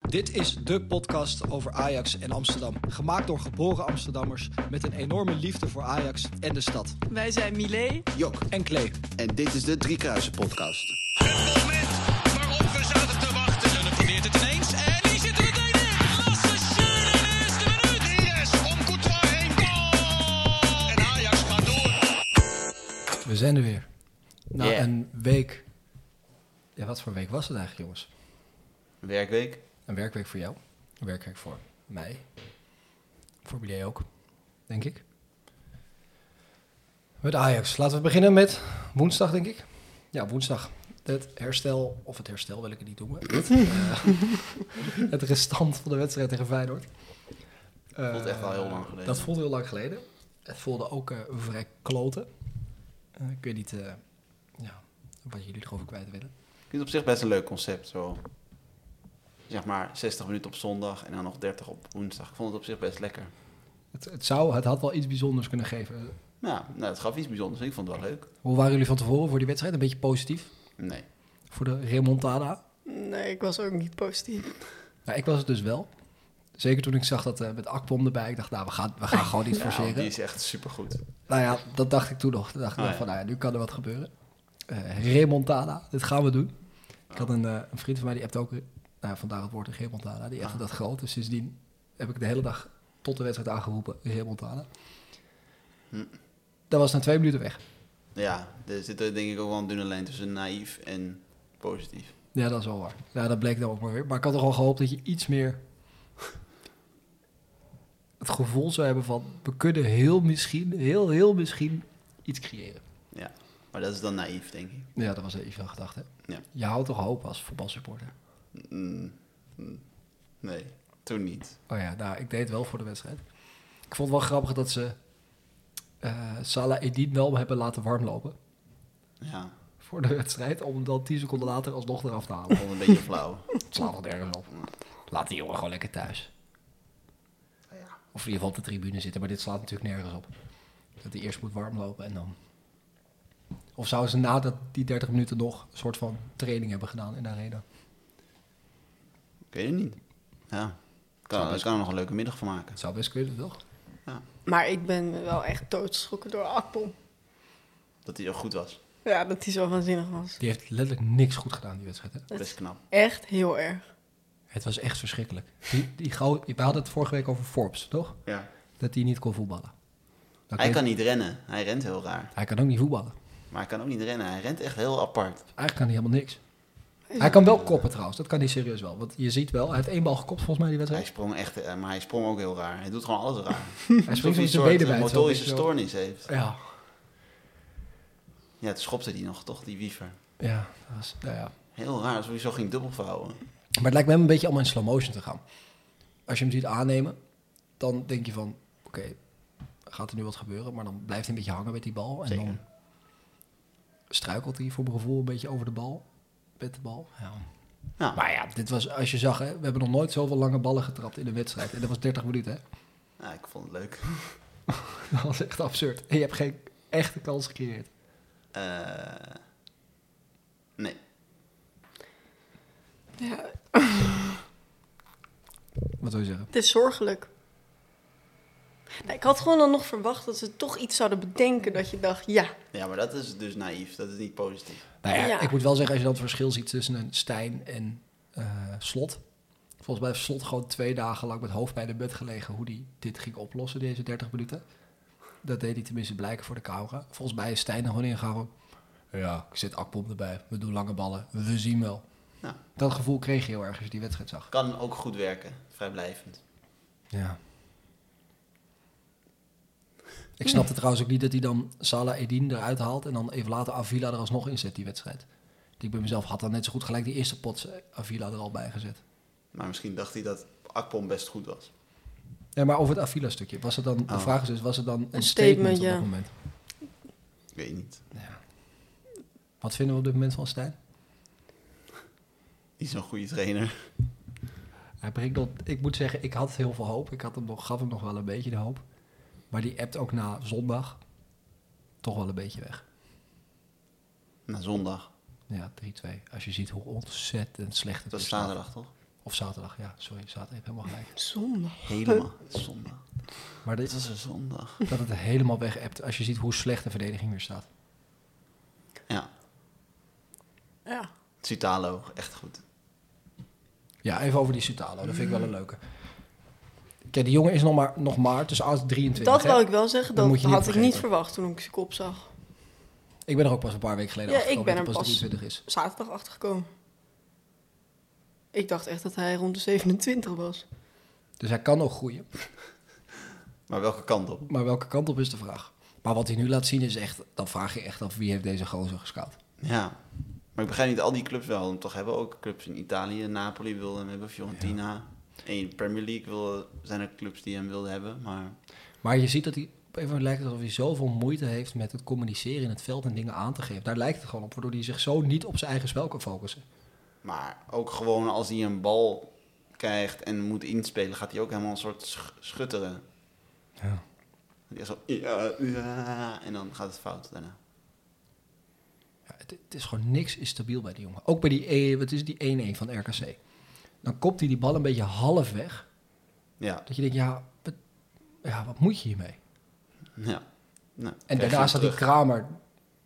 Dit is de podcast over Ajax en Amsterdam. Gemaakt door geboren Amsterdammers met een enorme liefde voor Ajax en de stad. Wij zijn Milé. Jok. En Klee. En dit is de Driekruisen podcast. Het moment waarop we zaten te wachten. Zullen probeert het ineens. En die zit er meteen in. Lasse Schöne in de eerste minuut. Yes, om Courtois heen. Goal! En Ajax gaat door. We zijn er weer. Na Yeah. een week. Ja, wat voor week was het eigenlijk, jongens? Werkweek. Een werkweek voor jou. Een werkweek voor mij. Voor Milé ook, denk ik. Met Ajax. Laten we beginnen met woensdag, denk ik. Ja, woensdag. Het herstel, of het herstel wil ik het niet noemen. Het, eh, het restant van de wedstrijd tegen Feyenoord. Dat Voelt echt wel heel lang geleden. Dat voelde heel lang geleden. Het voelde ook eh, vrij kloten. Eh, ik weet niet eh, ja, wat jullie erover kwijt willen. Ik vind het op zich best een leuk concept. Zo. Zeg maar 60 minuten op zondag en dan nog 30 op woensdag. Ik vond het op zich best lekker. Het, het, zou, het had wel iets bijzonders kunnen geven. Ja, nou, het gaf iets bijzonders. Ik vond het wel leuk. Hoe waren jullie van tevoren voor die wedstrijd? Een beetje positief Nee. voor de remontada? Nee, ik was ook niet positief. Nou, ik was het dus wel. Zeker toen ik zag dat eh, met Akpom erbij. Ik dacht, nou, we gaan, we gaan gewoon niet Ja, forceren. die is echt supergoed. Nou ja, dat dacht ik toen nog. Toen dacht ik Ah, nog ja. van, nou ja, nu kan er wat gebeuren. Eh remontada, dit gaan we doen. Ik had een, eh, een vriend van mij, die hebt ook eh, nou, vandaar het woord remontada. Die appte Ah. dat groot. Dus sindsdien heb ik de hele dag tot de wedstrijd aangeroepen, remontada. Hm. Dat was na twee minuten weg. Ja, er zit er denk ik ook wel een dunne lijn tussen naïef en positief. Ja, dat is wel waar. Ja, dat bleek dan ook maar weer. Maar ik had toch wel gehoopt dat je iets meer het gevoel zou hebben van... we kunnen heel misschien, heel heel misschien iets creëren. Ja, maar dat is dan naïef, denk ik. Ja, dat was even een gedachte. Ja. Je houdt toch hoop als voetbalsupporter? Mm, mm, nee, toen niet. Oh ja, nou, ik deed het wel voor de wedstrijd. Ik vond het wel grappig dat ze eh Salah Edin wel hebben laten warmlopen Ja, voor de wedstrijd... om hem dan tien seconden later alsnog eraf te halen. ik vond het een beetje flauw. Het slaat nog nergens op. Laat die jongen gewoon lekker thuis. Oh Of in ieder geval op de tribune zitten, maar dit slaat natuurlijk nergens op. Dat hij eerst moet warmlopen en dan... Of zouden ze na dat die 30 minuten nog een soort van training hebben gedaan in de arena? Ik weet het niet. Ja, kan, ik kan er nog een leuke middag van maken. Dat zou best kunnen, toch? Maar ik ben wel echt doodgeschrokken door Akpom. Dat hij zo goed was. Ja, dat hij zo waanzinnig was. Die heeft letterlijk niks goed gedaan, die wedstrijd. Hè? Best knap. Echt heel erg. Het was echt verschrikkelijk. Die, die gauw, we hadden het vorige week over Forbes, toch? Ja. Dat hij niet kon voetballen. Nou, Hij kijk, kan niet rennen. Hij rent heel raar. hij kan ook niet voetballen. Maar hij kan ook niet rennen. Hij rent echt heel apart. Eigenlijk kan hij helemaal niks. Hij kan wel koppen trouwens, dat kan hij serieus wel. Want je ziet wel, hij heeft één bal gekopt volgens mij die Hij wedstrijd. sprong echt, eh, maar hij sprong ook heel raar. Hij doet gewoon alles raar. Hij Alsof springt hij met zijn een Hm. soort benen eh, bij. motorische zo, weet je wel. stoornis heeft. Ja, Ja, het schopte die nog, toch? Die wiever. ja, dat was, nou ja. Heel raar, alsof hij zo ging dubbelvouwen. Maar het lijkt me hem een beetje allemaal in slow motion te gaan. Als je hem ziet aannemen, dan denk je van, oké, gaat er nu wat gebeuren? Maar dan blijft hij een beetje hangen met die bal. En Zeker. dan struikelt hij voor mijn gevoel een beetje over de bal. Met de bal. Ja. Ja. Maar ja, dit was, als je zag, hè, we hebben nog nooit zoveel lange ballen getrapt in een wedstrijd. En dat was 30 minuten, hè? Ja, ik vond het leuk. Dat was echt absurd. En je hebt geen echte kans gecreëerd. Eh, nee. Ja, Wat wil je zeggen? het is zorgelijk. Nee, ik had gewoon dan nog verwacht dat ze toch iets zouden bedenken dat je dacht, ja. Ja, maar dat is dus naïef. Dat is niet positief. Nou ja, Ja. ik moet wel zeggen, als je dan het verschil ziet tussen een Stijn en eh, Slot. Volgens mij heeft Slot gewoon twee dagen lang met hoofdpijn in bed gelegen hoe hij dit ging oplossen, deze 30 minuten. Dat deed hij tenminste blijken voor de camera. Volgens mij is Stijn er gewoon ingehouden. Ja, ik zet Akpom erbij. We doen lange ballen. We zien wel. Ja. Dat gevoel kreeg je heel erg als je die wedstrijd zag. Kan ook goed werken. Vrijblijvend. Ja. Ik snapte trouwens ook niet dat hij dan Salah Edin eruit haalt en dan even later Avila er alsnog in zet, die wedstrijd. Ik bij mezelf had dan net zo goed gelijk die eerste pot eh, Avila er al bij gezet. Maar misschien dacht hij dat Akpom best goed was. Ja, maar over het Avila-stukje, was het dan, de Oh. vraag is dus, was het dan een, Een statement, statement, op dat ja. moment? Ik weet niet. Wat vinden we op dit moment van Stijn? Niet zo'n goede trainer. Hij brengt dat, ik moet zeggen, ik had heel veel hoop. Ik had hem nog, gaf hem nog wel een beetje de hoop. Maar die appt ook na zondag toch wel een beetje weg. Na zondag. Ja, 3-2. Als je ziet hoe ontzettend slecht het Het was is. zaterdag, toch? Of Of zaterdag, ja, sorry, zaterdag. Je hebt helemaal gelijk. Zonde. Helemaal. Zondag. Maar dit Dit was een zondag. dat het helemaal weg hebt als je ziet hoe slecht de verdediging weer staat. Ja. Ja. Citalo, echt goed. Ja, even over die Sutalo. Dat vind ik wel een leuke. Kijk, die jongen is nog maar, nog maar tussen 8 en 23. Dat hè? wou ik wel zeggen. Dan Dat moet je niet had ik niet vergeten. verwacht toen ik zijn kop zag. Ik ben er ook pas een paar weken geleden Ja, achtergekomen ik ben dat er hij pas- 23 is. Zaterdag achtergekomen. Ik dacht echt dat hij rond de 27 was. Dus hij kan nog groeien. Maar welke kant op? Maar welke kant op is de vraag? Maar wat hij nu laat zien is echt... Dan vraag je echt af wie heeft deze gozer gescout. Ja. Maar ik begrijp niet al die clubs wel. En toch hebben we ook clubs in Italië. Napoli wilde hem hebben, Fiorentina. En in de Premier League wil, zijn er clubs die hem wilden hebben. Maar Maar je ziet dat hij... Op een moment lijkt het alsof hij zoveel moeite heeft met het communiceren in het veld en dingen aan te geven. Daar lijkt het gewoon op, waardoor hij zich zo niet op zijn eigen spel kan focussen. Maar ook gewoon als hij een bal krijgt en moet inspelen, gaat hij ook helemaal een soort sch- schutteren. Ja. Die is zo, ja, ja, en dan gaat het fout daarna. Ja, het, het is gewoon niks is stabiel bij die jongen. Ook bij die, E- wat is die 1-1 van RKC. Dan kopt hij die bal een beetje half weg. Ja, Dat je denkt, ja, wat, ja, wat moet je hiermee? ja. En Nou, krijg je daarnaast hem had die terug. Kramer,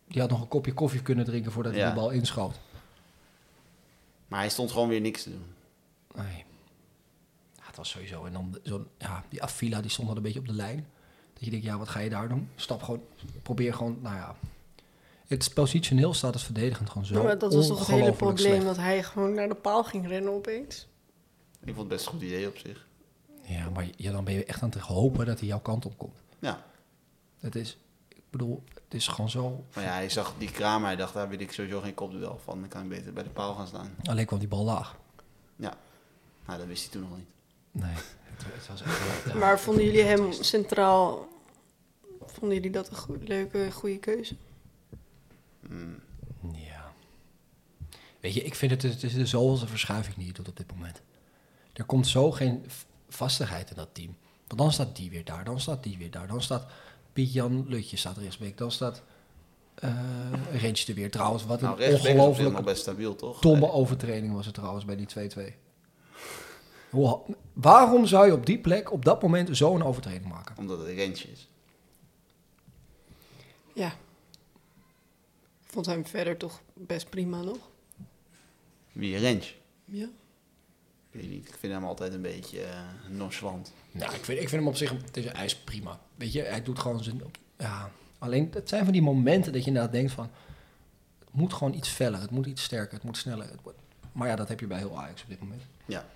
die had nog een kopje koffie kunnen drinken voordat hij Ja. de bal inschoot. Maar hij stond gewoon weer niks te doen. Nee. Ja, het was sowieso. En dan zo'n, ja, die Avila, die stond al een beetje op de lijn. Dat je denkt, ja, wat ga je daar doen? Stap gewoon, probeer gewoon, nou ja. Het positioneel staat als verdedigend gewoon zo. maar dat was toch het hele ongelooflijk probleem slecht. dat hij gewoon naar de paal ging rennen opeens. Ik vond het best een goed idee op zich. Ja, maar ja, dan ben je echt aan het hopen dat hij jouw kant op komt. Ja, Het is, ik bedoel, het is gewoon zo. maar ja, hij zag die Kramer, hij dacht, daar wil ik sowieso geen kopduel van. Dan kan ik beter bij de paal gaan staan. Alleen kwam die bal laag. Ja, nou, dat wist hij toen nog niet. Nee, het, het was echt... ja. Maar vonden jullie hem centraal... Vonden jullie dat een goed, leuke, goede keuze? Ja. Weet je, ik vind het, het is de zoveelste verschuiving die je doet op dit moment. Er komt zo geen v- vastigheid in dat team. Want dan staat die weer daar, dan staat die weer daar. Dan staat Piet-Jan Lutje staat rechtsbeek, dan staat eh Rentje er weer. Trouwens, wat Nou, een rechtsback is op zich nog ongelooflijke best stabiel, toch? Eh, domme overtreding was het trouwens bij die 2-2. Hoe ha- Waarom zou je op die plek op dat moment zo'n overtreding maken? Omdat het een rentje is. Ja. Ik vond hem verder toch best prima nog. Wie een rentje? Ja. Ik weet niet, ik vind hem altijd een beetje eh, nonchalant. Nou, ik vind, ik vind hem op zich, het is, hij is prima. Weet je, hij doet gewoon zijn... Ja, alleen, het zijn van die momenten dat je inderdaad denkt van... Het moet gewoon iets feller, het moet iets sterker, het moet sneller. Het wordt- maar ja, dat heb je bij heel Ajax op dit moment. Ja,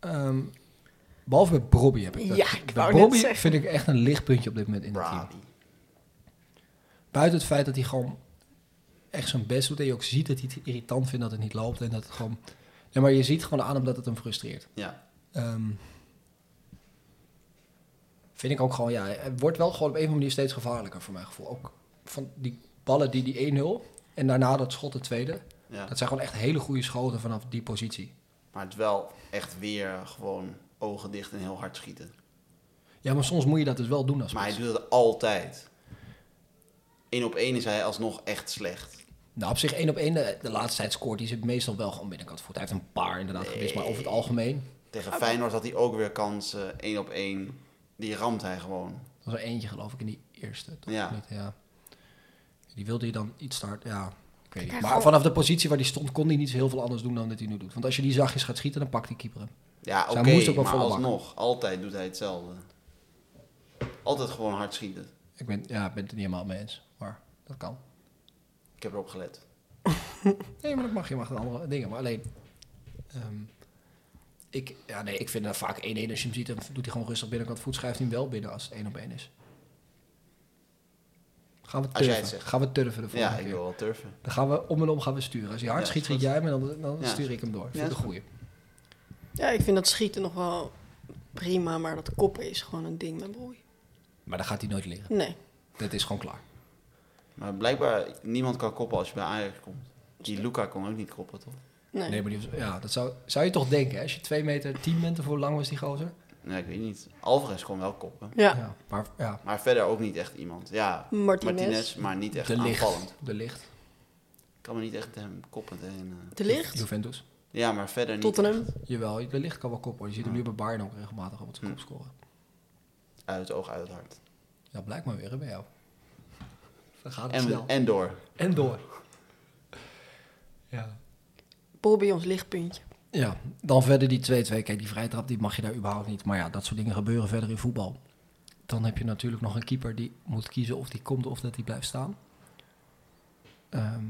Ehm, behalve bij Bobby heb ik dat. Ja, ik Bij wou net Brobbey zeggen. vind ik echt een lichtpuntje op dit moment in het team. Brady. Buiten het feit dat hij gewoon echt zijn best doet... en je ook ziet dat hij het irritant vindt dat het niet loopt... en dat het gewoon... Nee, maar je ziet gewoon aan hem dat het hem frustreert. Ja, Ehm, vind ik ook gewoon, ja, het wordt wel gewoon op een of andere manier steeds gevaarlijker voor mijn gevoel. Ook van die ballen die die 1-0 en daarna dat schot de tweede. ja. Dat zijn gewoon echt hele goede schoten vanaf die positie. Maar het wel echt weer gewoon ogen dicht en heel hard schieten. Ja, maar soms moet je dat dus wel doen als Maar hij spits. doet het altijd. Eén op één is hij alsnog echt slecht. Nou, op zich één op één, de, de laatste tijd scoort hij ze meestal wel gewoon binnenkant voet. Hij heeft een paar inderdaad gemist, maar over het algemeen. Tegen Ah, Feyenoord had hij ook weer kansen, één op één. Die ramt hij gewoon. Dat was er eentje geloof ik in die eerste, toch? Ja. Niet, ja. Die wilde hij dan iets starten, ja. Ik weet niet. krijg Maar gewoon- vanaf de positie waar hij stond kon hij niet zo heel veel anders doen dan dat hij nu doet. Want als je die zachtjes gaat schieten, dan pakt die keeper hem. Ja, hij oké, moest ook wel maar volle bak. alsnog. Altijd doet hij hetzelfde. Altijd gewoon hard schieten. Ik ben, ja, ik ben het er niet helemaal mee eens, maar dat kan. Ik heb erop gelet. Nee, maar dat mag. Je mag dan andere dingen. Maar alleen, ehm, ik, ja, nee, ik vind dat vaak 1-1 als je hem ziet. Dan doet hij gewoon rustig binnenkant voet. Schuift hij hem wel binnen als het 1 op 1 is. Gaan we Als jij het turven. zegt. Gaan we turven de volgende Ja, ik keer. wil wel turven. Dan gaan we om en om gaan we sturen. Als je hard Ja, schiet, is goed. schiet jij hem. En dan, dan Ja, stuur is ik hem door. Vind Ja, ik is een goeie. Ja, ik vind dat schieten nog wel prima, maar dat koppen is gewoon een ding, mijn broer. Maar dan gaat hij nooit liggen. Nee. Dat is gewoon klaar. Maar blijkbaar, niemand kan koppen als je bij Ajax komt. Die Luca kon ook niet koppen, toch? Nee. Nee, maar die, ja, dat zou, zou je toch denken. Hè? Als je 2 meter 10 meter voor lang was die gozer. Nee, ik weet niet. Alvarez kon wel koppen. Ja. maar ja, Maar verder ook niet echt iemand. Ja, Martinez. maar niet echt de licht. aanvallend. De licht. Ik kan me niet echt hem koppen tegen. eh, De licht? Juventus. Ja, maar verder niet. Tottenham. Jawel, de licht kan wel koppen. hoor. Je ziet hem nu bij Bayern ook regelmatig op het Hm. kop scoren. Uit oog, uit hart. Ja, blijkt maar weer hè, bij jou. Dan gaat het En, snel. en door. En door. Ja. Bobby ons lichtpuntje. Ja, dan verder die 2-2. Kijk, die vrijtrap die mag je daar überhaupt niet. Maar ja, dat soort dingen gebeuren verder in voetbal. Dan heb je natuurlijk nog een keeper die moet kiezen of die komt of dat die blijft staan. Ehm,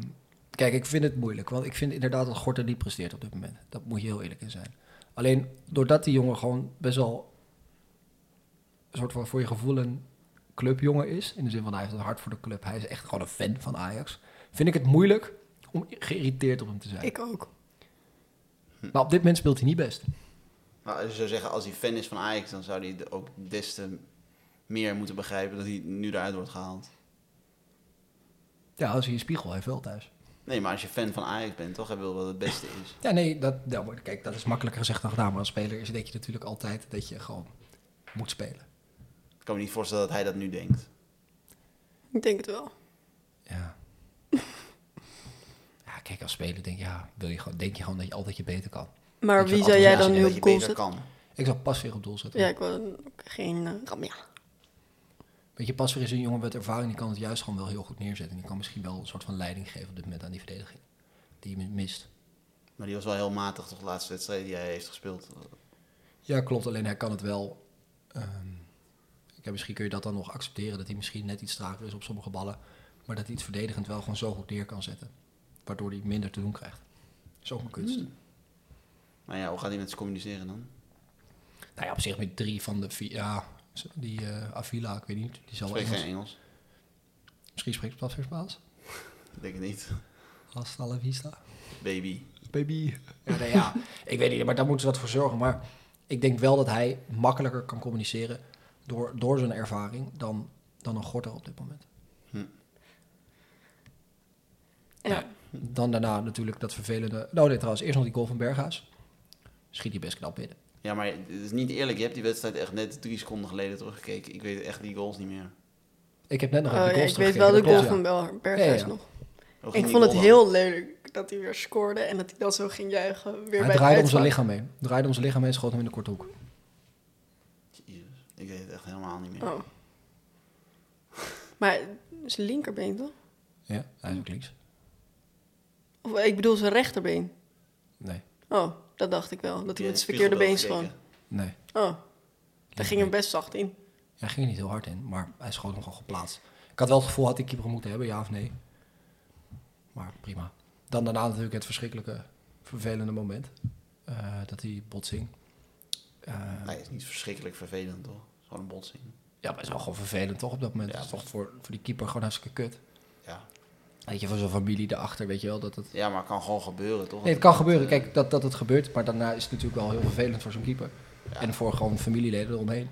kijk, ik vind het moeilijk. Want ik vind inderdaad dat Gorter niet presteert op dit moment. Dat moet je heel eerlijk in zijn. Alleen doordat die jongen gewoon best wel een soort van voor je gevoel een clubjongen is. In de zin van hij heeft een hart voor de club. Hij is echt gewoon een fan van Ajax. Vind ik het moeilijk om geïrriteerd op hem te zijn. Ik ook. Maar op dit moment speelt hij niet best. Maar als je zou zeggen, als hij fan is van Ajax, dan zou hij ook des te meer moeten begrijpen dat hij nu eruit wordt gehaald. Ja, als je een spiegel heeft wel thuis. Nee, maar als je fan van Ajax bent, toch hebben we wel wat het beste is. Ja, nee, dat, ja, maar kijk, dat is makkelijker gezegd dan gedaan. Maar als speler is, denk je natuurlijk altijd dat je gewoon moet spelen. Ik kan me niet voorstellen dat hij dat nu denkt. Ik denk het wel. Ja. ja, kijk, als speler denk, je, ja, wil je gewoon, denk je gewoon dat je altijd je beter kan. Maar Ik zou wie zou jij altijd dan Als je nu op denkt dat je goal beter zetten? kan. Ik zou pas weer op doel zetten. Ja, ik wil ook geen eh, Ramia. Weet je, pas weer is een jongen met ervaring, die kan het juist gewoon wel heel goed neerzetten. Die kan misschien wel een soort van leiding geven op dit moment aan die verdediging. Die je mist. Maar die was wel heel matig toch de laatste wedstrijd die hij heeft gespeeld. Ja, klopt. Alleen hij kan het wel. ehm, kijk, misschien kun je dat dan nog accepteren. Dat hij misschien net iets trager is op sommige ballen. Maar dat hij iets verdedigend wel gewoon zo goed neer kan zetten. Waardoor hij minder te doen krijgt. Zo'n kunst. Maar ja, hoe gaat hij met ze communiceren dan? Nou ja, op zich met drie van de vier. Ja, die eh, Avila, ik weet niet. Die zal wel Spreekt geen Engels. Engels. Misschien spreekt Pas weer Spaans. Ik denk het niet. Hasta la vista. Baby. Baby. Ja, nee, ja, ik weet niet, maar daar moeten ze wat voor zorgen. Maar ik denk wel dat hij makkelijker kan communiceren door, door zijn ervaring dan, dan een Gorter op dit moment. Ja. Dan daarna natuurlijk dat vervelende... Nou nee, trouwens, eerst nog die goal van Berghuis. Schiet hij best knap binnen. Ja, maar het is niet eerlijk. Je hebt die wedstrijd echt net drie seconden geleden teruggekeken. Ik weet echt die goals niet meer. Ik heb net nog Oh, een ja, goal ik weet wel de goal van ja. Bel- Berghuis Ja, ja. nog. Hoe ging Ik die vond het goal heel leuk dat hij weer scoorde en dat hij dan zo ging juichen. Weer bij Hij de draaide om zijn uitslag. lichaam mee. Draaide om zijn lichaam mee en schoot hem in de korte hoek. dan? Jezus, ik weet het echt helemaal niet meer. Oh. Maar zijn linkerbeen toch? Ja, hij is ook links. Of eh, ik bedoel zijn rechterbeen. Nee, Oh, dat dacht ik wel. Dat hij Die met heeft zijn verkeerde been spiegelbeeld schoon. gekeken. nee. Oh, daar ging hem best zacht in. Hij ging er niet heel hard in, maar hij schoot hem gewoon geplaatst. Ik had wel het gevoel, had die keeper hem moeten hebben, ja of nee? Maar prima. Dan daarna natuurlijk het verschrikkelijke, vervelende moment. eh, dat die botsing. Eh, Nee, het is niet verschrikkelijk vervelend toch? Het is gewoon een botsing. ja, maar het is wel gewoon vervelend toch op dat moment. Ja, Het is toch voor, voor die keeper gewoon hartstikke kut. Ja. Weet je, voor zo'n familie erachter, weet je wel, dat het... ja, maar het kan gewoon gebeuren toch? Nee, het kan gebeuren, kijk, dat, dat het gebeurt. Maar daarna is het natuurlijk wel heel vervelend voor zo'n keeper. En voor gewoon familieleden eromheen.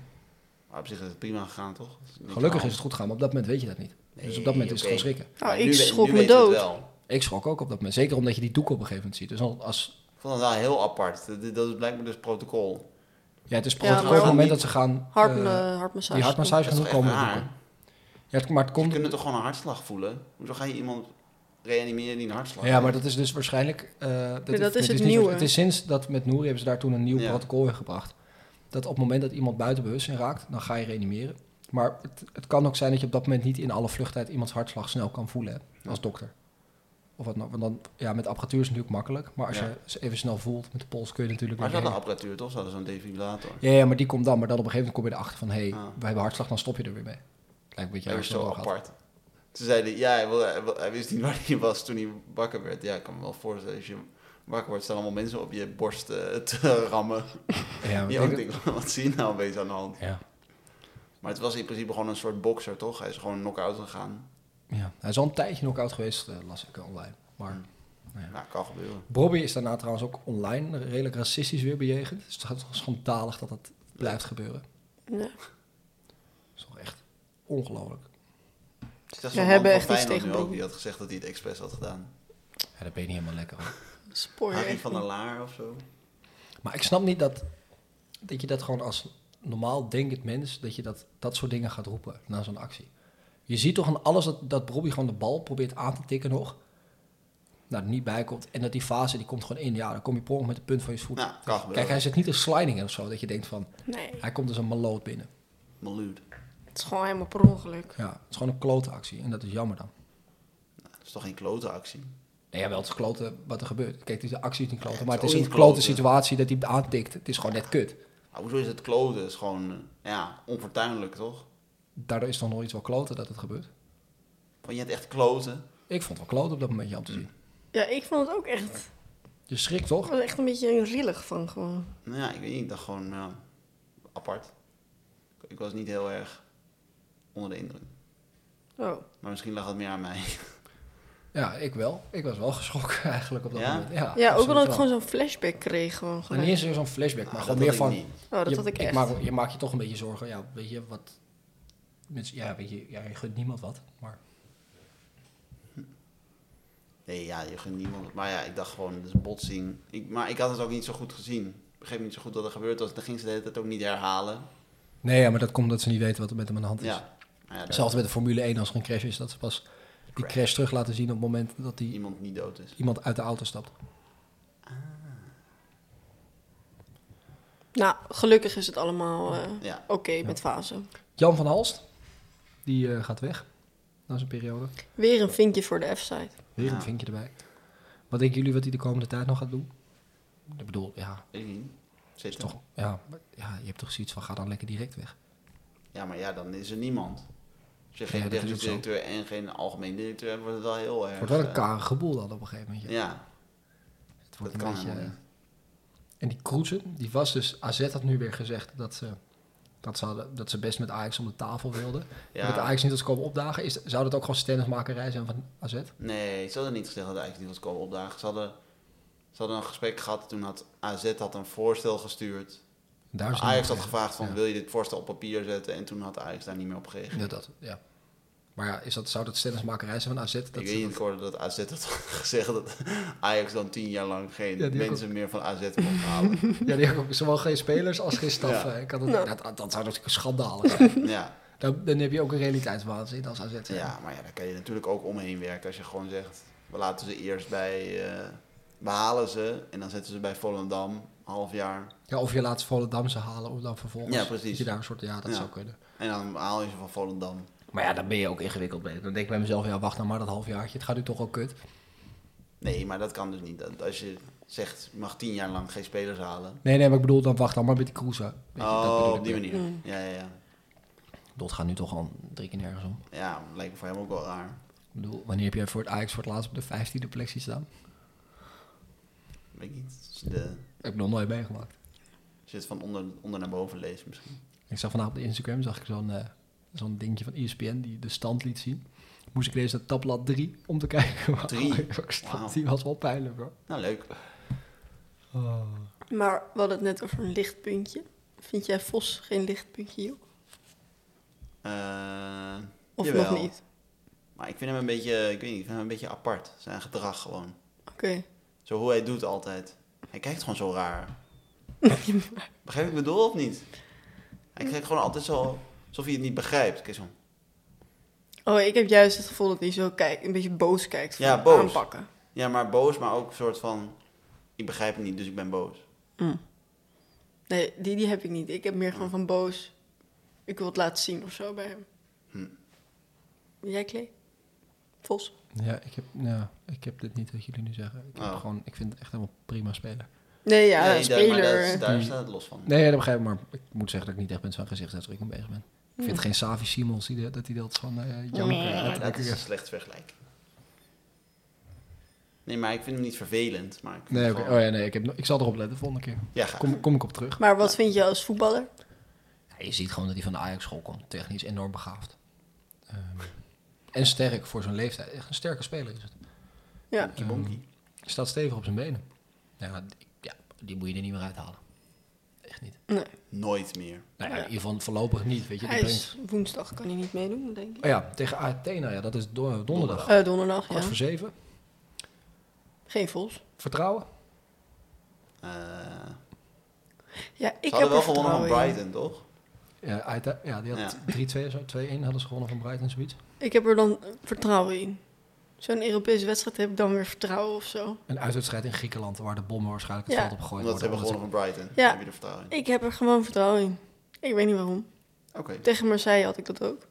Maar eh, op zich is het prima gegaan toch? Het niks aan de Gelukkig is hand. het goed gegaan, maar op dat moment weet je dat niet. dus op dat moment is het gewoon oké. schrikken. Oh, Maar ik nu we- schrok nu me weten we het dood. wel. Ik schrok ook op dat moment. Zeker omdat je die doek op een gegeven moment ziet. Dus als- als Ik vond het wel heel apart. Dat, dat is blijkbaar dus protocol. Ja, het is Ja, protocol maar op het waarom moment niet? dat ze gaan... Hart, eh, eh, hartmassage. die hartmassage Dat is gaan toch doen, echt komen er raar? doeken. Ja, het- maar het Ze komt... kunnen toch gewoon een hartslag voelen? Hoezo ga je iemand reanimeren die een hartslag Ja, maar heeft? dat is dus waarschijnlijk... eh, dat, dat is het niet- nieuwe. Het is sinds dat met Nouri hebben ze daar toen een nieuw Ja. protocol in gebracht. Dat op het moment dat iemand buiten bewustzijn raakt, dan ga je reanimeren. Maar het, het kan ook zijn dat je op dat moment niet in alle vluchttijd iemands hartslag snel kan voelen hè, als dokter. Of wat nou, want dan, ja, met apparatuur is het natuurlijk makkelijk. Maar als Ja. je ze even snel voelt met de pols, kun je natuurlijk... Maar ze weer hadden heen. apparatuur toch? Ze hadden zo'n defibrillator. ja, ja, maar die komt dan. Maar dan op een gegeven moment kom je erachter van... hé, hey, Ah. we hebben hartslag, dan stop je er weer mee. Lijkt een beetje dat als is je zo doorgaat. apart. Ze zeiden, ja, hij, wil- hij wil- hij wist niet waar hij was toen hij wakker werd. Ja, ik kan me wel voorstellen, als je wakker wordt, staan allemaal mensen op je borst eh, te rammen. Ja, maar Die ik ook denk- denken, wat zie je nou opeens aan de hand? Ja. Maar het was in principe gewoon een soort bokser, toch? Hij is gewoon knock-out gegaan. ja, hij is al een tijdje knock-out geweest, eh, las ik online. Maar Nou, kan gebeuren. Bobby is daarna trouwens ook online redelijk racistisch weer bejegend. Dus Het is toch schandalig dat dat blijft gebeuren. Ja. Dat is toch echt ongelooflijk. Ik zag We zo'n man hebben van echt iets Feyenoord tegen nu ook, Bobby. die had gezegd dat hij het expres had gedaan. Ja, dat ben je niet helemaal lekker. hoor. Spoor je Harry echt van der niet. Laar of zo. Maar ik snap niet dat, dat je dat gewoon als normaal denkend mens, dat je dat, dat soort dingen gaat roepen na zo'n actie. Je ziet toch aan alles dat, dat Bobby gewoon de bal probeert aan te tikken nog. nou, er niet bij komt. En dat die fase, die komt gewoon in. Ja, dan kom je per ongeluk met het punt van je voet. Nou, kan gebeuren. Kijk, hij zit niet een sliding in of zo. Dat je denkt van, Nee, hij komt dus een maloot binnen. Maluut. het is gewoon helemaal per ongeluk. Ja, het is gewoon een klote actie. En dat is jammer dan. Dat is toch geen klote actie? Nee, jawel, het is kloten wat er gebeurt. Kijk, het is de actie is niet kloten, het maar is het is ook een niet klote kloten. situatie dat hij hem aantikt. Het is gewoon net kut. Maar Ah, hoezo is het kloten? Het is gewoon, eh, ja, onfortuinlijk, toch? Daardoor is dan nog iets wel kloten dat het gebeurt. Want je hebt echt kloten. Ik vond het wel kloten op dat momentje om te zien. Ja, ik vond het ook echt... Je schrikt Ik toch? was echt een beetje rillig van gewoon. Nou ja, ik weet niet. Ik dacht gewoon, ja, apart. Ik- Ik was niet heel erg onder de indruk. Oh. Ah, Maar misschien lag het meer aan mij. Ja, ik wel. Ik was wel geschrokken eigenlijk op dat Ja? moment. Ja, Ja, ook absoluut omdat ik wel. gewoon zo'n flashback kreeg. Gewoon En gelijk. niet eens zo'n flashback, maar Nou, gewoon dat meer had van... ik niet. Oh, dat je, had ik ik echt. maak, je maakt je toch een beetje zorgen. Ja, weet je wat... mensen- ja, weet je, ja, je gunt niemand wat. Maar Nee, ja, je gunt niemand. Maar ja, ik dacht gewoon, het is botsing. Ik, maar ik had het ook niet zo goed gezien. Ik begreep niet zo goed wat er gebeurd was. Dan ging ze de hele tijd ook niet herhalen. Nee, ja, maar dat komt omdat ze niet weten wat er met hem aan de hand is. Ja. Maar ja, dat Hetzelfde met de Formule 1 als er een crash is. Dat ze pas die Crash. crash terug laten zien op het moment dat die iemand niet dood is. iemand uit de auto stapt. Nou, gelukkig is het allemaal eh, Ja. oké met fase. Jan van Halst, die eh, gaat weg. Na zijn periode. Weer een vinkje voor de F-site. Weer Ja. een vinkje erbij. Wat denken jullie wat hij de komende tijd nog gaat doen? Ik bedoel, ja, Weet ik niet. is Zitten. toch, ja, maar- ja, je hebt toch zoiets van ga dan lekker direct weg. Ja, maar ja, dan is er niemand. Als je Ja, geen dat is ook technisch zo. directeur en geen algemeen directeur hebt, wordt het wel heel erg. Het wordt wel een eh, karige boel dan op een gegeven moment. ja. Ja, het wordt dat een kan beetje... helemaal eh, En die Kroesen, die was dus... AZ had nu weer gezegd dat ze, dat ze, hadden- dat ze best met Ajax om de tafel wilden. Ja. En Dat Ajax niet als komen opdagen. Is, zou dat ook gewoon stennismakerij zijn van AZ? Nee, ze hadden niet gezegd dat eigenlijk niet was komen opdagen. Ze hadden, ze hadden een gesprek gehad, toen had AZ had een voorstel gestuurd. Daar is Ajax had niemand tegen. gevraagd van, Ja. wil je dit voorstel op papier zetten? En toen had Ajax daar niet meer op gereageerd. Ja, dat, ja. Maar ja, is dat, zou dat stennismakerij zijn van AZ? Dat ik ze weet niet, dat- ik hoorde dat AZ had gezegd dat Ajax dan tien jaar lang geen Ja, die ook mensen meer van AZ mocht halen. Ja, die hebben ook zowel geen spelers als geen staf. Ja. eh, Ik had het, dat, dat, dat zou natuurlijk schandalig zijn. ja. dan, dan heb je ook een realiteitswaanzin als AZ. zijn. ja, maar ja, daar kan je natuurlijk ook omheen werken als je gewoon zegt, we laten ze eerst bij, eh we halen ze en dan zetten ze bij Volendam, half jaar. Ja, of je laat Volendam ze halen om dan vervolgens... Ja, precies. dat Je daar een soort, ja, dat Ja. zou kunnen. En dan haal je ze van Volendam. Maar ja, dan ben je ook ingewikkeld mee. Dan denk ik bij mezelf, ja, wacht nou maar dat halfjaartje. Het gaat nu toch al kut. Nee, maar dat kan dus niet. Dat- Als je zegt, je mag tien jaar lang geen spelers halen. Nee, nee, maar ik bedoel, dan wacht dan maar met die cruisen. Weet je, dat Oh, bedoel op ik Mm. die meer. manier. Ja, ja, ja. Ik bedoel, het gaat nu toch al drie keer nergens om. Ja, lijkt me voor hem ook wel raar. Ik bedoel, wanneer heb jij voor het Ajax voor het laatst op de 15e plek zien staan? Weet ik niet. Als je, de, Ik heb nog nooit meegemaakt. als je het van onder, onder naar boven leest misschien. Ik zag vandaag op de Instagram zag ik zo'n eh, zo'n dingetje van E ESPN die de stand liet zien. Moest ik lezen naar tabblad 3 om te kijken waar Drie? Ajax stond. Wauw. Die was wel pijnlijk hoor. Nou, leuk. Maar we hadden het net over een lichtpuntje. Vind jij Vos geen lichtpuntje, joh? Eh, Of jawel. nog niet? Maar ik vind hem een beetje, ik weet niet, ik vind hem een beetje apart. Zijn gedrag gewoon. Oké. Zo hoe hij doet altijd. Hij kijkt gewoon zo raar. Begrijp ik mijn doel of niet? Hij kijkt gewoon altijd zo, alsof hij het niet begrijpt. Kijk zo. Oh, ik heb juist het gevoel dat hij zo kijkt, een beetje boos kijkt. Ja, van boos. Aanpakken. Ja, maar boos, maar ook een soort van, ik begrijp het niet, dus ik ben boos. Nee, die, die heb ik niet. Ik heb meer gewoon van boos. Ik wil het laten zien of zo bij hem. Hm. Jij, Klee? Vos? Ja ik, heb, ja, ik heb dit niet wat jullie nu zeggen. Ik, heb Oh. gewoon, ik vind het echt helemaal prima spelen. Nee, ja, Nee, een daar- maar speler. dat is- daar Die- staat het los van. Nee, dat begrijp ik, maar ik moet zeggen dat ik niet echt met zo'n gezichtsuitdrukking bezig ben. Ik vind geen Savi Simons die, de- dat hij dat van eh janken Nee. Maar dat uitdrukking is een heeft. slecht vergelijking. Nee, maar ik vind hem niet vervelend. Maar ik vind Nee, het oké. gewoon- oh, ja, nee ik, heb, no- ik zal erop letten volgende keer. Ja, graag. kom, kom ik op terug. Maar wat vind je als voetballer? Ja, je ziet gewoon dat hij van de Ajax-school komt. Technisch enorm begaafd. Ehm, en sterk voor zijn leeftijd. Echt een sterke speler is het. Ehm, Ja. Bonkie bonkie. Hij staat stevig op zijn benen. Ja, die, ja, die moet je er niet meer uithalen. Echt niet. Nee. Nooit meer. Nou ja, in ieder geval voorlopig niet. Weet je, die Hij brengt... is woensdag, kan hij niet meedoen, denk ik. Oh ja, tegen Athena. Ja, dat is do- donderdag. Eh, donderdag, Kwart ja. voor zeven. Geen Vos. Vertrouwen. Eh, Ja, ik ze heb hadden wel er gewonnen van vertrouwen in. Brighton, toch? Ja, Aithe- ja die had Ja. 3-2 of zo. 2-1 hadden ze gewonnen van Brighton zoiets. Ik heb er dan eh, vertrouwen in. zo'n Europese wedstrijd heb ik dan weer vertrouwen of zo. Een uitwedstrijd in Griekenland waar de bommen waarschijnlijk het Ja. veld op gegooid Omdat ze hebben worden. gewonnen van Brighton. Ja. Heb je er vertrouwen in? Ik heb er gewoon vertrouwen in. Ik weet niet waarom. Oké. Tegen Marseille had ik dat ook.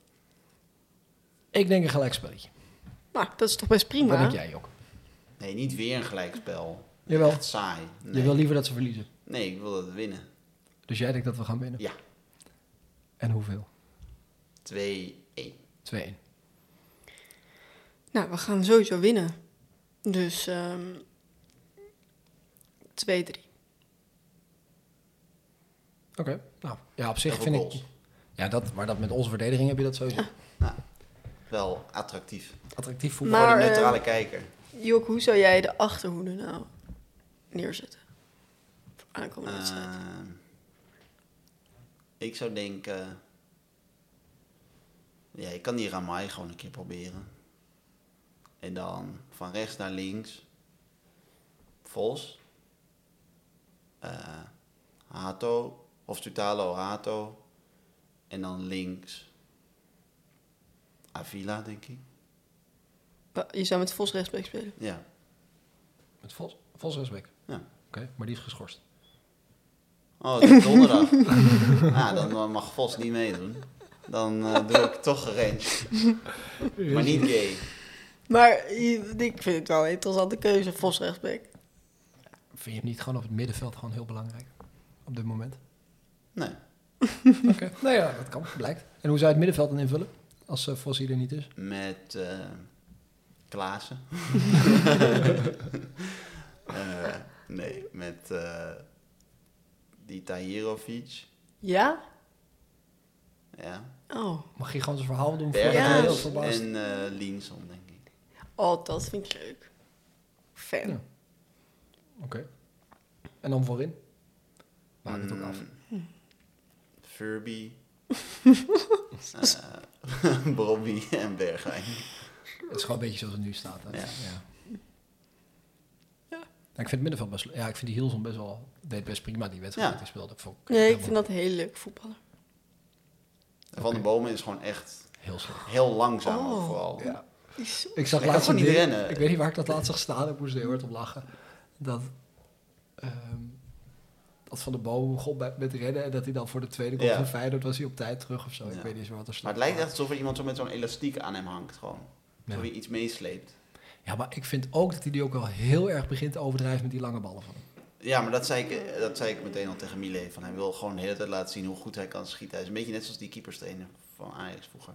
Ik denk een gelijkspelletje. Nou, dat is toch best prima. Wat denk jij, Jok? Nee, niet weer een gelijkspel. Jawel. Echt saai. Nee. Je wil liever dat ze verliezen. nee, ik wil dat we winnen. Dus jij denkt dat we gaan winnen? Ja. En hoeveel? 2-1. 2-1. Nou, we gaan sowieso winnen. Dus ehm 2-3. Oké. Nou, ja, op zich Double vind ik... goals. Ja, dat, maar dat met onze verdediging heb je dat sowieso. Nou, Wel attractief. Attractief voetbal. Voor Maar, de neutrale eh, kijker. Jok, hoe zou jij de achterhoede nou neerzetten? Voor aankomende wedstrijd. Ehm, ik zou denken... Ja, ik kan die Ramai gewoon een keer proberen. En dan van rechts naar links. Vos. Eh, Hato. Of Tutalo Hato. En dan links. Avila, denk ik. Wa- Je zou met Vos rechtsback spelen. Ja. Met Vos, Vos Resbeck. ja. Oké, maar die is geschorst. Oh, het is donderdag. ah, dan eh, mag Vos niet meedoen. Dan eh, doe ik toch arrange. maar niet gay. Maar je- ik vind het wel een interessante keuze, Vos rechtsback. Vind je hem niet gewoon op het middenveld gewoon heel belangrijk? Op dit moment? Nee. Oké. Nou ja, dat kan. Blijkt. En hoe zou je het middenveld dan invullen? Als eh, Vos hier er niet is? Met eh Klaassen. Eh, nee, met eh die Tahirovic. Ja? Ja. Oh. Mag je gewoon zijn verhaal doen? voordat je heel Berghuis verbaasd- en eh Linson, denk ik. Oh, dat vind ik leuk. Fan. Ja. Oké. En dan voorin? Maak het ook af. Furby. eh Bobby en Bergwijn. Het is gewoon een beetje zoals het nu staat. Hè? Ja. Ja, ik vind het middenveld best... Ja, ik vind die Hilson best wel... Deed best prima die wedstrijd Ja. die hij speelde. Vond ik Nee, ik helemaal vind dat een hele leuke voetballer. Van de Bomen is gewoon echt Heel slecht. heel langzaam Oh. vooral. Die is zo- Ik zag Hij kan laatst gewoon een niet video- rennen. Ik weet niet waar ik dat laatst zag staan. Ik moest er heel hard op lachen. Dat, ehm, dat Van de Boom begon bij- met rennen. En dat hij dan voor de tweede goal Ja. van Feyenoord was hij op tijd terug of zo. Ik Ja. weet niet eens meer wat er Maar stond. het lijkt echt alsof er iemand zo met zo'n elastiek aan hem hangt gewoon. Ja. Alsof hij iets meesleept. Ja, maar ik vind ook dat hij die ook wel heel erg begint te overdrijven met die lange ballen van hem. Ja, maar dat zei, ik, eh, dat zei ik meteen al tegen Mile. Van hij wil gewoon de hele tijd laten zien hoe goed hij kan schieten. Hij is een beetje net zoals die keeperstrainer van Ajax vroeger.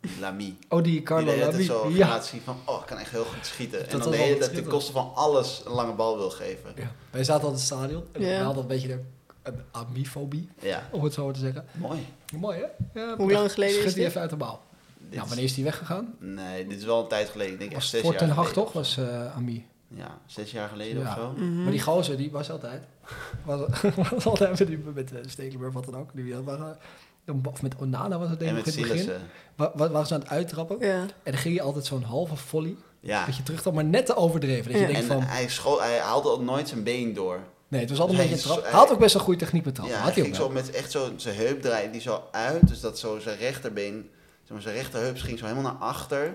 Die Lamy. Oh, die Die de Carlo hele tijd Lamy. zo ja. Ja. laten zien van, oh, ik kan echt heel goed schieten. Dat en dan de was hele wel tijd ten schitterend. koste van alles een lange bal wil geven. ja. Wij zaten al in het stadion. En Ja. we hadden een beetje de, een amifobie, Ja, om het zo maar te zeggen. mooi. Mooi, hè? Ja, Hoe lang geleden Schud is die dit? even uit de bal. Dit Nou, is- wanneer is die weggegaan? Nee, dit is wel een tijd geleden. Ik denk echt Was zes het voor jaar Ten Hag geleden. toch, was eh Ami. Ja, zes jaar geleden Ja. of zo. Mhm. Maar die gozer, die was altijd... Was, was altijd met, die, met eh, Stekelenburg, wat dan ook. Die eh, waren, of met Onana was het denk En ik met eh. in het begin. Sillissen. Wa- wa- Waren ze aan het uittrappen. Ja. En dan ging je altijd zo'n halve volley. Ja. Dat je terug dan maar net te overdreven. Dat je Ja. denkt En van... hij, scho- hij haalde ook nooit zijn been door. Nee, het was altijd een Hij beetje een is- trap. Hij hij- had ook best een goede techniek met trappen. Ja, hij had hij ook ging zo wel. met echt zo zijn heup draaien die zo uit. Dus dat zo zijn rechterbeen, zeg maar, zijn rechterheup ging zo helemaal naar achter.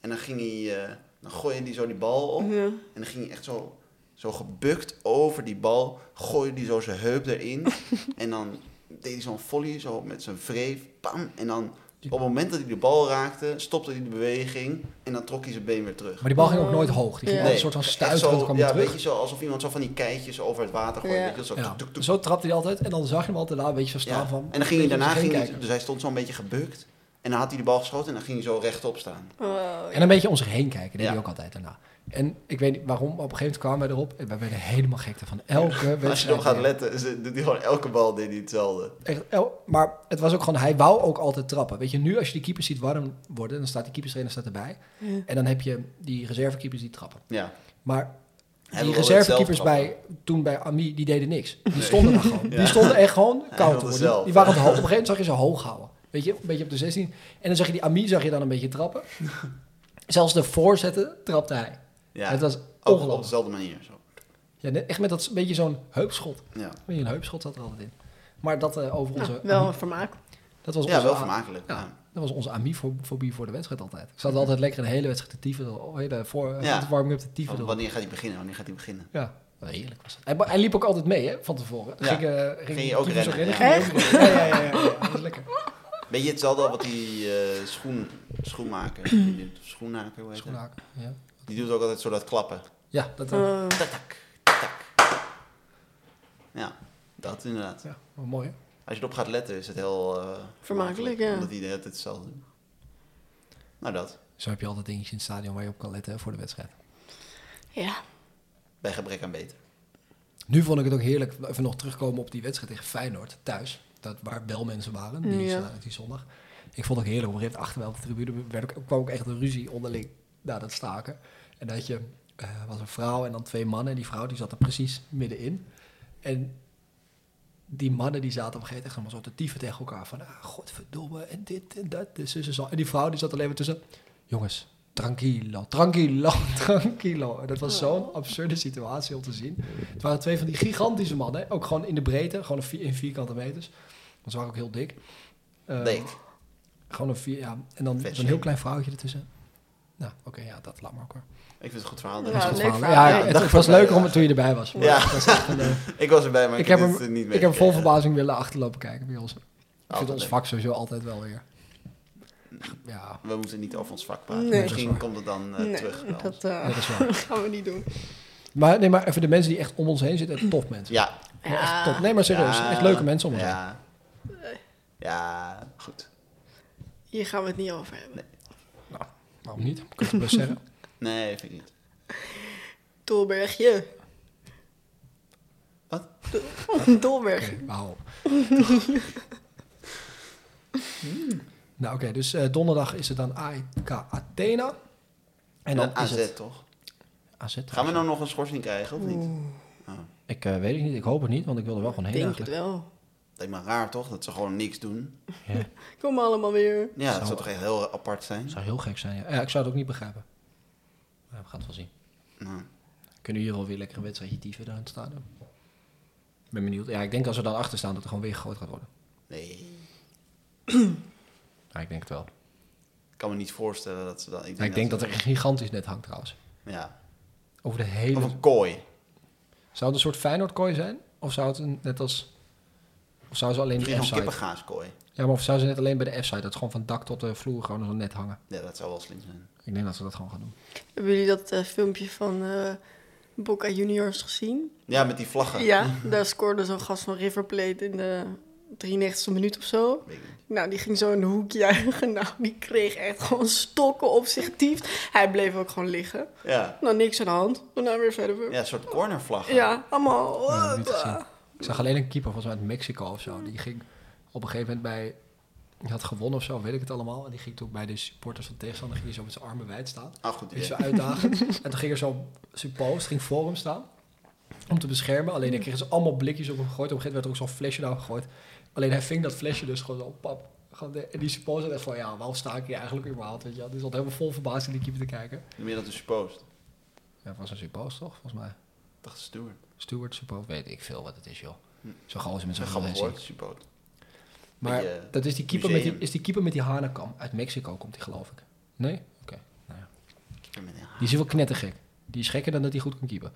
En dan ging hij, eh, dan gooide hij zo die bal op. Ja. En dan ging hij echt zo, zo gebukt over die bal, gooide hij zo zijn heup erin. en dan deed hij zo'n volley zo met zijn wreef, pam. En dan op het moment dat hij de bal raakte, stopte hij de beweging. En dan trok hij zijn been weer terug. Maar die bal ging ook nooit hoog. Die ging Ja. altijd een soort van echt stuiterend zo, kwam ja, hij terug. weet je zo, alsof iemand zo van die keitjes over het water gooit. Ja. Weet je, wel, zo, Ja. tuk, tuk, tuk, Zo trapte hij altijd. En dan zag je hem altijd daar een beetje zo staan ja. van... en dan ging weet je, hij daarna, om zich ging heen hij, kijken. dus hij stond zo'n beetje gebukt. En dan had hij de bal geschoten en dan ging hij zo rechtop staan. Oh, En een beetje om zich heen kijken, deed Ja. hij ook altijd daarna. En ik weet niet waarom, maar op een gegeven moment kwamen wij erop en wij werden helemaal gek ervan. Elke wedstrijd. Als je erop gaat weer. letten, ze- doet hij gewoon elke bal deed hij hetzelfde. Echt el- maar het was ook gewoon, hij wou ook altijd trappen. Weet je, nu als je die keepers ziet warm worden, dan staat die keeperstrainer staat erbij. En dan heb je die reservekeepers die trappen. Ja. Maar Hij die wilde zelf reservekeepers trappen. bij, toen bij Ami, die deden niks. Die stonden daar gewoon. Die stonden echt gewoon Hij koud te wilde worden. zelf. Die waren het hoog. Op een gegeven moment zag je ze hoog houden. Weet je, een beetje op de 16. En dan zag je die Ami, zag je dan een beetje trappen. Zelfs de voorzetten trapte hij. Ja. Het was Ook op ongelooflijk. dezelfde manier. Zo. Ja, net- echt met dat s- beetje zo'n heupschot. Ja. Een beetje Een heupschot zat er altijd in. Maar dat eh, over onze... nou, wel een vermaak. Dat was Ja, onze wel a- vermakelijk. Ja, Ja. dat was onze amifobie voor de wedstrijd altijd. Ik zat altijd lekker een hele wedstrijd te tieven. Oh, hele voor, Ja. de warming-up te Want tieven. Wanneer gaat hij beginnen? Wanneer gaat hij beginnen? Ja, heerlijk was het. Hij, hij liep ook altijd mee, hè, van tevoren. Ja. Ging, eh Ging je ook tyfus rennen, Ging je ook rennen. Ja, ja, ja, ja, ja. Dat is lekker. Weet je hetzelfde al wat die eh, schoen, schoenmaker, die doet, of schoenmaker, hoe heet dat? Schoenhaken, ja. Die doet ook altijd zo dat klappen. Ja, dat ook. Eh, Ja, dat inderdaad. Ja, wat mooi, hè? Als je erop gaat letten is het heel eh, ja. Omdat die de hele tijd hetzelfde doen. Nou dat, Zo heb je altijd dingetjes in het stadion waar je op kan letten hè, voor de wedstrijd. ja. bij gebrek aan beter. Nu vond ik het ook heerlijk, even nog terugkomen op die wedstrijd tegen Feyenoord thuis. Dat, waar wel mensen waren, die, Ja. zondag- die zondag. Ik vond het ook heerlijk, op een gegeven moment achter wel op de tribune werd ook, kwam ook echt een ruzie onderling na dat staken. En dat je, eh, was een vrouw en dan twee mannen en die vrouw die zat er precies middenin. En die mannen die zaten op een gegeven moment echt allemaal zo te dieven tegen elkaar. Van, ah, godverdomme, en dit en dat, Dus en zus en zo. En die vrouw die zat alleen maar tussen, jongens, tranquilo, tranquilo, tranquilo. En dat was zo'n absurde situatie om te zien. Het waren twee van die gigantische mannen, hè. ook gewoon in de breedte, gewoon een vier- in vierkante meters. Want ze waren ook heel dik. Eh, Leek. Gewoon een vier, ja. En dan Vet zo'n heel shame. klein vrouwtje ertussen. Nou, oké, ja, dat laat maar ook hoor. Ik vind het een goed verhaal. Ja, Dank je. leuk Verhalen. Ja, verhaal. Ja, het, dat het was vond ik leuker wel om het toen je erbij was. Ja. Dat was echt een, eh, Ik was erbij, maar ik, ik heb, dit, eh, niet hem, mee. ik heb hem vol verbazing willen achterlopen kijken bij ons. Ik vind Altijd ons leuk. vak sowieso altijd wel weer. Ja, We moeten niet over ons vak praten. Nee. Dat is Misschien waar. komt het dan eh, nee, terug. wel. dat eh, nee, dat is waar. gaan we niet doen. Maar, nee, maar even de mensen die echt om ons heen zitten, echt top mensen. Ja. Gewoon Echt Ja. top. Nee, maar serieus, Ja. echt leuke mensen om ons heen. Ja. Ja, goed. Hier gaan we het niet over hebben. Nou, waarom niet? Kun je het best zeggen. Nee, vind ik niet. Tolbergje. Wat? Dolberg. Oké, we houden op. Nou oké, dus eh, donderdag is het dan AEK Athena. En dan is AZ, het toch? AZ. Gaan we nou nog een schorsing krijgen of niet? Oh, Ik eh, weet het niet, ik hoop het niet, want ik wil er wel gewoon Ik heen denk het eigenlijk. wel. Lijkt me raar, toch? Dat ze gewoon niks doen. Ja, Kom allemaal weer. Ja, Zou- dat zou toch echt heel apart zijn? zou heel gek zijn. Ja. Ja, ik zou het ook niet begrijpen. Maar we gaan het wel zien. Nou, Kunnen jullie wel weer lekker een wedstrijdje dieven daar in het stadion? Ik ben benieuwd. Ja, ik denk als we dan achter staan dat er gewoon weer gegooid gaat worden. nee. Ja, ik denk het wel. Ik kan me niet voorstellen dat ze dat... Ja, ik denk dat er een gigantisch net hangt trouwens. Ja. Over de Of hele... een kooi. Zou het een soort Feyenoordkooi zijn? Of zou het een, net als... Of zou ze alleen de Misschien zo'n F-site... kippengaaskooi. Ja, maar of zou ze net alleen bij de F-site... Dat is gewoon van dak tot de vloer gewoon zo'n net hangen. Ja, dat zou wel slim zijn. Ik denk dat ze dat gewoon gaan doen. Hebben jullie dat eh, filmpje van eh Boca Juniors gezien? Ja, met die Ah. vlaggen. Ja, daar scoorde zo'n gast van River Plate in de 93e minuut of zo. Weet ik niet. Nou, die ging zo in de hoek juichen. Nou, die kreeg echt gewoon stokken op zich tief. Hij bleef ook gewoon liggen. Ja. Nou, niks aan de hand. Daarna weer verder. ja, een soort cornervlag. Ja, allemaal. Ja, niet gezien. Ik zag alleen een keeper, volgens mij uit Mexico of zo. Die ging op een gegeven moment bij... Die had gewonnen of zo, weet ik het allemaal. En die ging toen bij de supporters van tegenstander... ging hij zo met zijn armen wijd staan. Ah, goed. Is zo idee. uitdagend. en toen ging er zo'n suppost, ging voor hem staan. Om te beschermen. Alleen dan kregen ze allemaal blikjes op hem gegooid. Op een gegeven moment werd er ook zo'n flesje naar hem gegooid. Alleen hij ving dat flesje dus gewoon zo, pap. Gewoon de- en die suppost had echt van, ja, waarom sta ik hier eigenlijk überhaupt? Weet je wel? Die zat helemaal vol verbazing die keeper te kijken. Meer dan een suppost. Ja, het was een suppost toch, volgens mij? Dacht Stuart. Stewart, suppost, weet ik veel wat het is, joh. Zo'n gozer met Dat zo'n is Hm. een grappig gelensie. woord, suppost. Maar Beetje dat is die keeper, met die, museum. is die keeper met die hanenkam. Uit Mexico komt hij, geloof ik. Nee? Oké. Nou ja. Ik heb met een- Die is wel knettergek. Die is gekker dan dat hij goed kan keeper.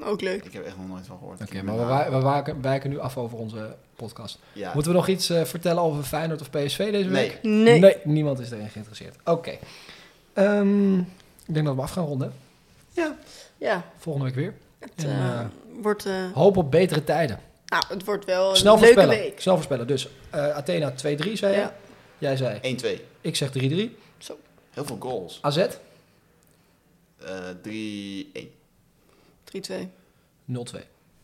Oh, Ook leuk. Ik heb echt nog nooit van gehoord. Oké, Ik heb maar we, met wa- een- we waken- wijken nu af over onze podcast. Ja. Moeten we nog iets eh, vertellen over Feyenoord of PSV deze Nee. week? Nee. niemand is erin geïnteresseerd. Oké. Ehm, ik denk dat we af gaan ronden. Ja, Volgende week weer. het En, eh, eh, wordt... eh, Hoop op betere tijden. nou, het wordt wel een Snel leuke voorspellen. week. Snel voorspellen. Dus eh, Athena 2-3 zei je. Ja. Jij zei, 1-2. ik zeg 3-3. Zo. Heel veel goals. AZ 0-2. Eh 3-1. 3-2.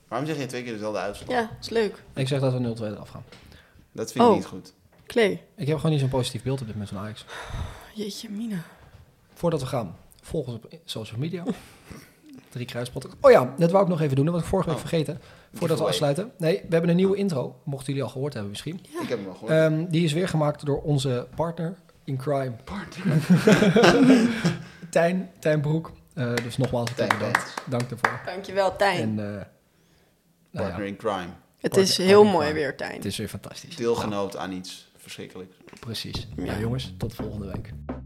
Waarom zeg je twee keer dezelfde uitslag? Ja, is leuk. Ik zeg dat we 0-2 eraf gaan. Dat vind ik Oh. niet goed. Klee. Ik heb gewoon niet zo'n positief beeld op dit moment van Ajax. Jeetje, Mina. Voordat we gaan, volg ons op social media. Drie kruispodden. Oh ja, dat wou ik nog even doen. Dat was ik vorige week Oh. vergeten. Voordat we Giveaway. afsluiten. Nee, we hebben een nieuwe intro. Mochten jullie al gehoord hebben misschien. Ik heb hem wel gehoord. Ehm, die is weer gemaakt door onze partner in crime. Tijn, Tijn Broek. Eh, dus nogmaals, Tijn bedankt. Bent, Dank daarvoor. Dankjewel, Tijn. En eh, nou ja, partner in crime. Het Wordt- is heel wordt- mooi weer, Tijn. Het is weer fantastisch. Deelgenoot aan iets verschrikkelijks. Precies. Ja. Nou jongens, tot volgende week.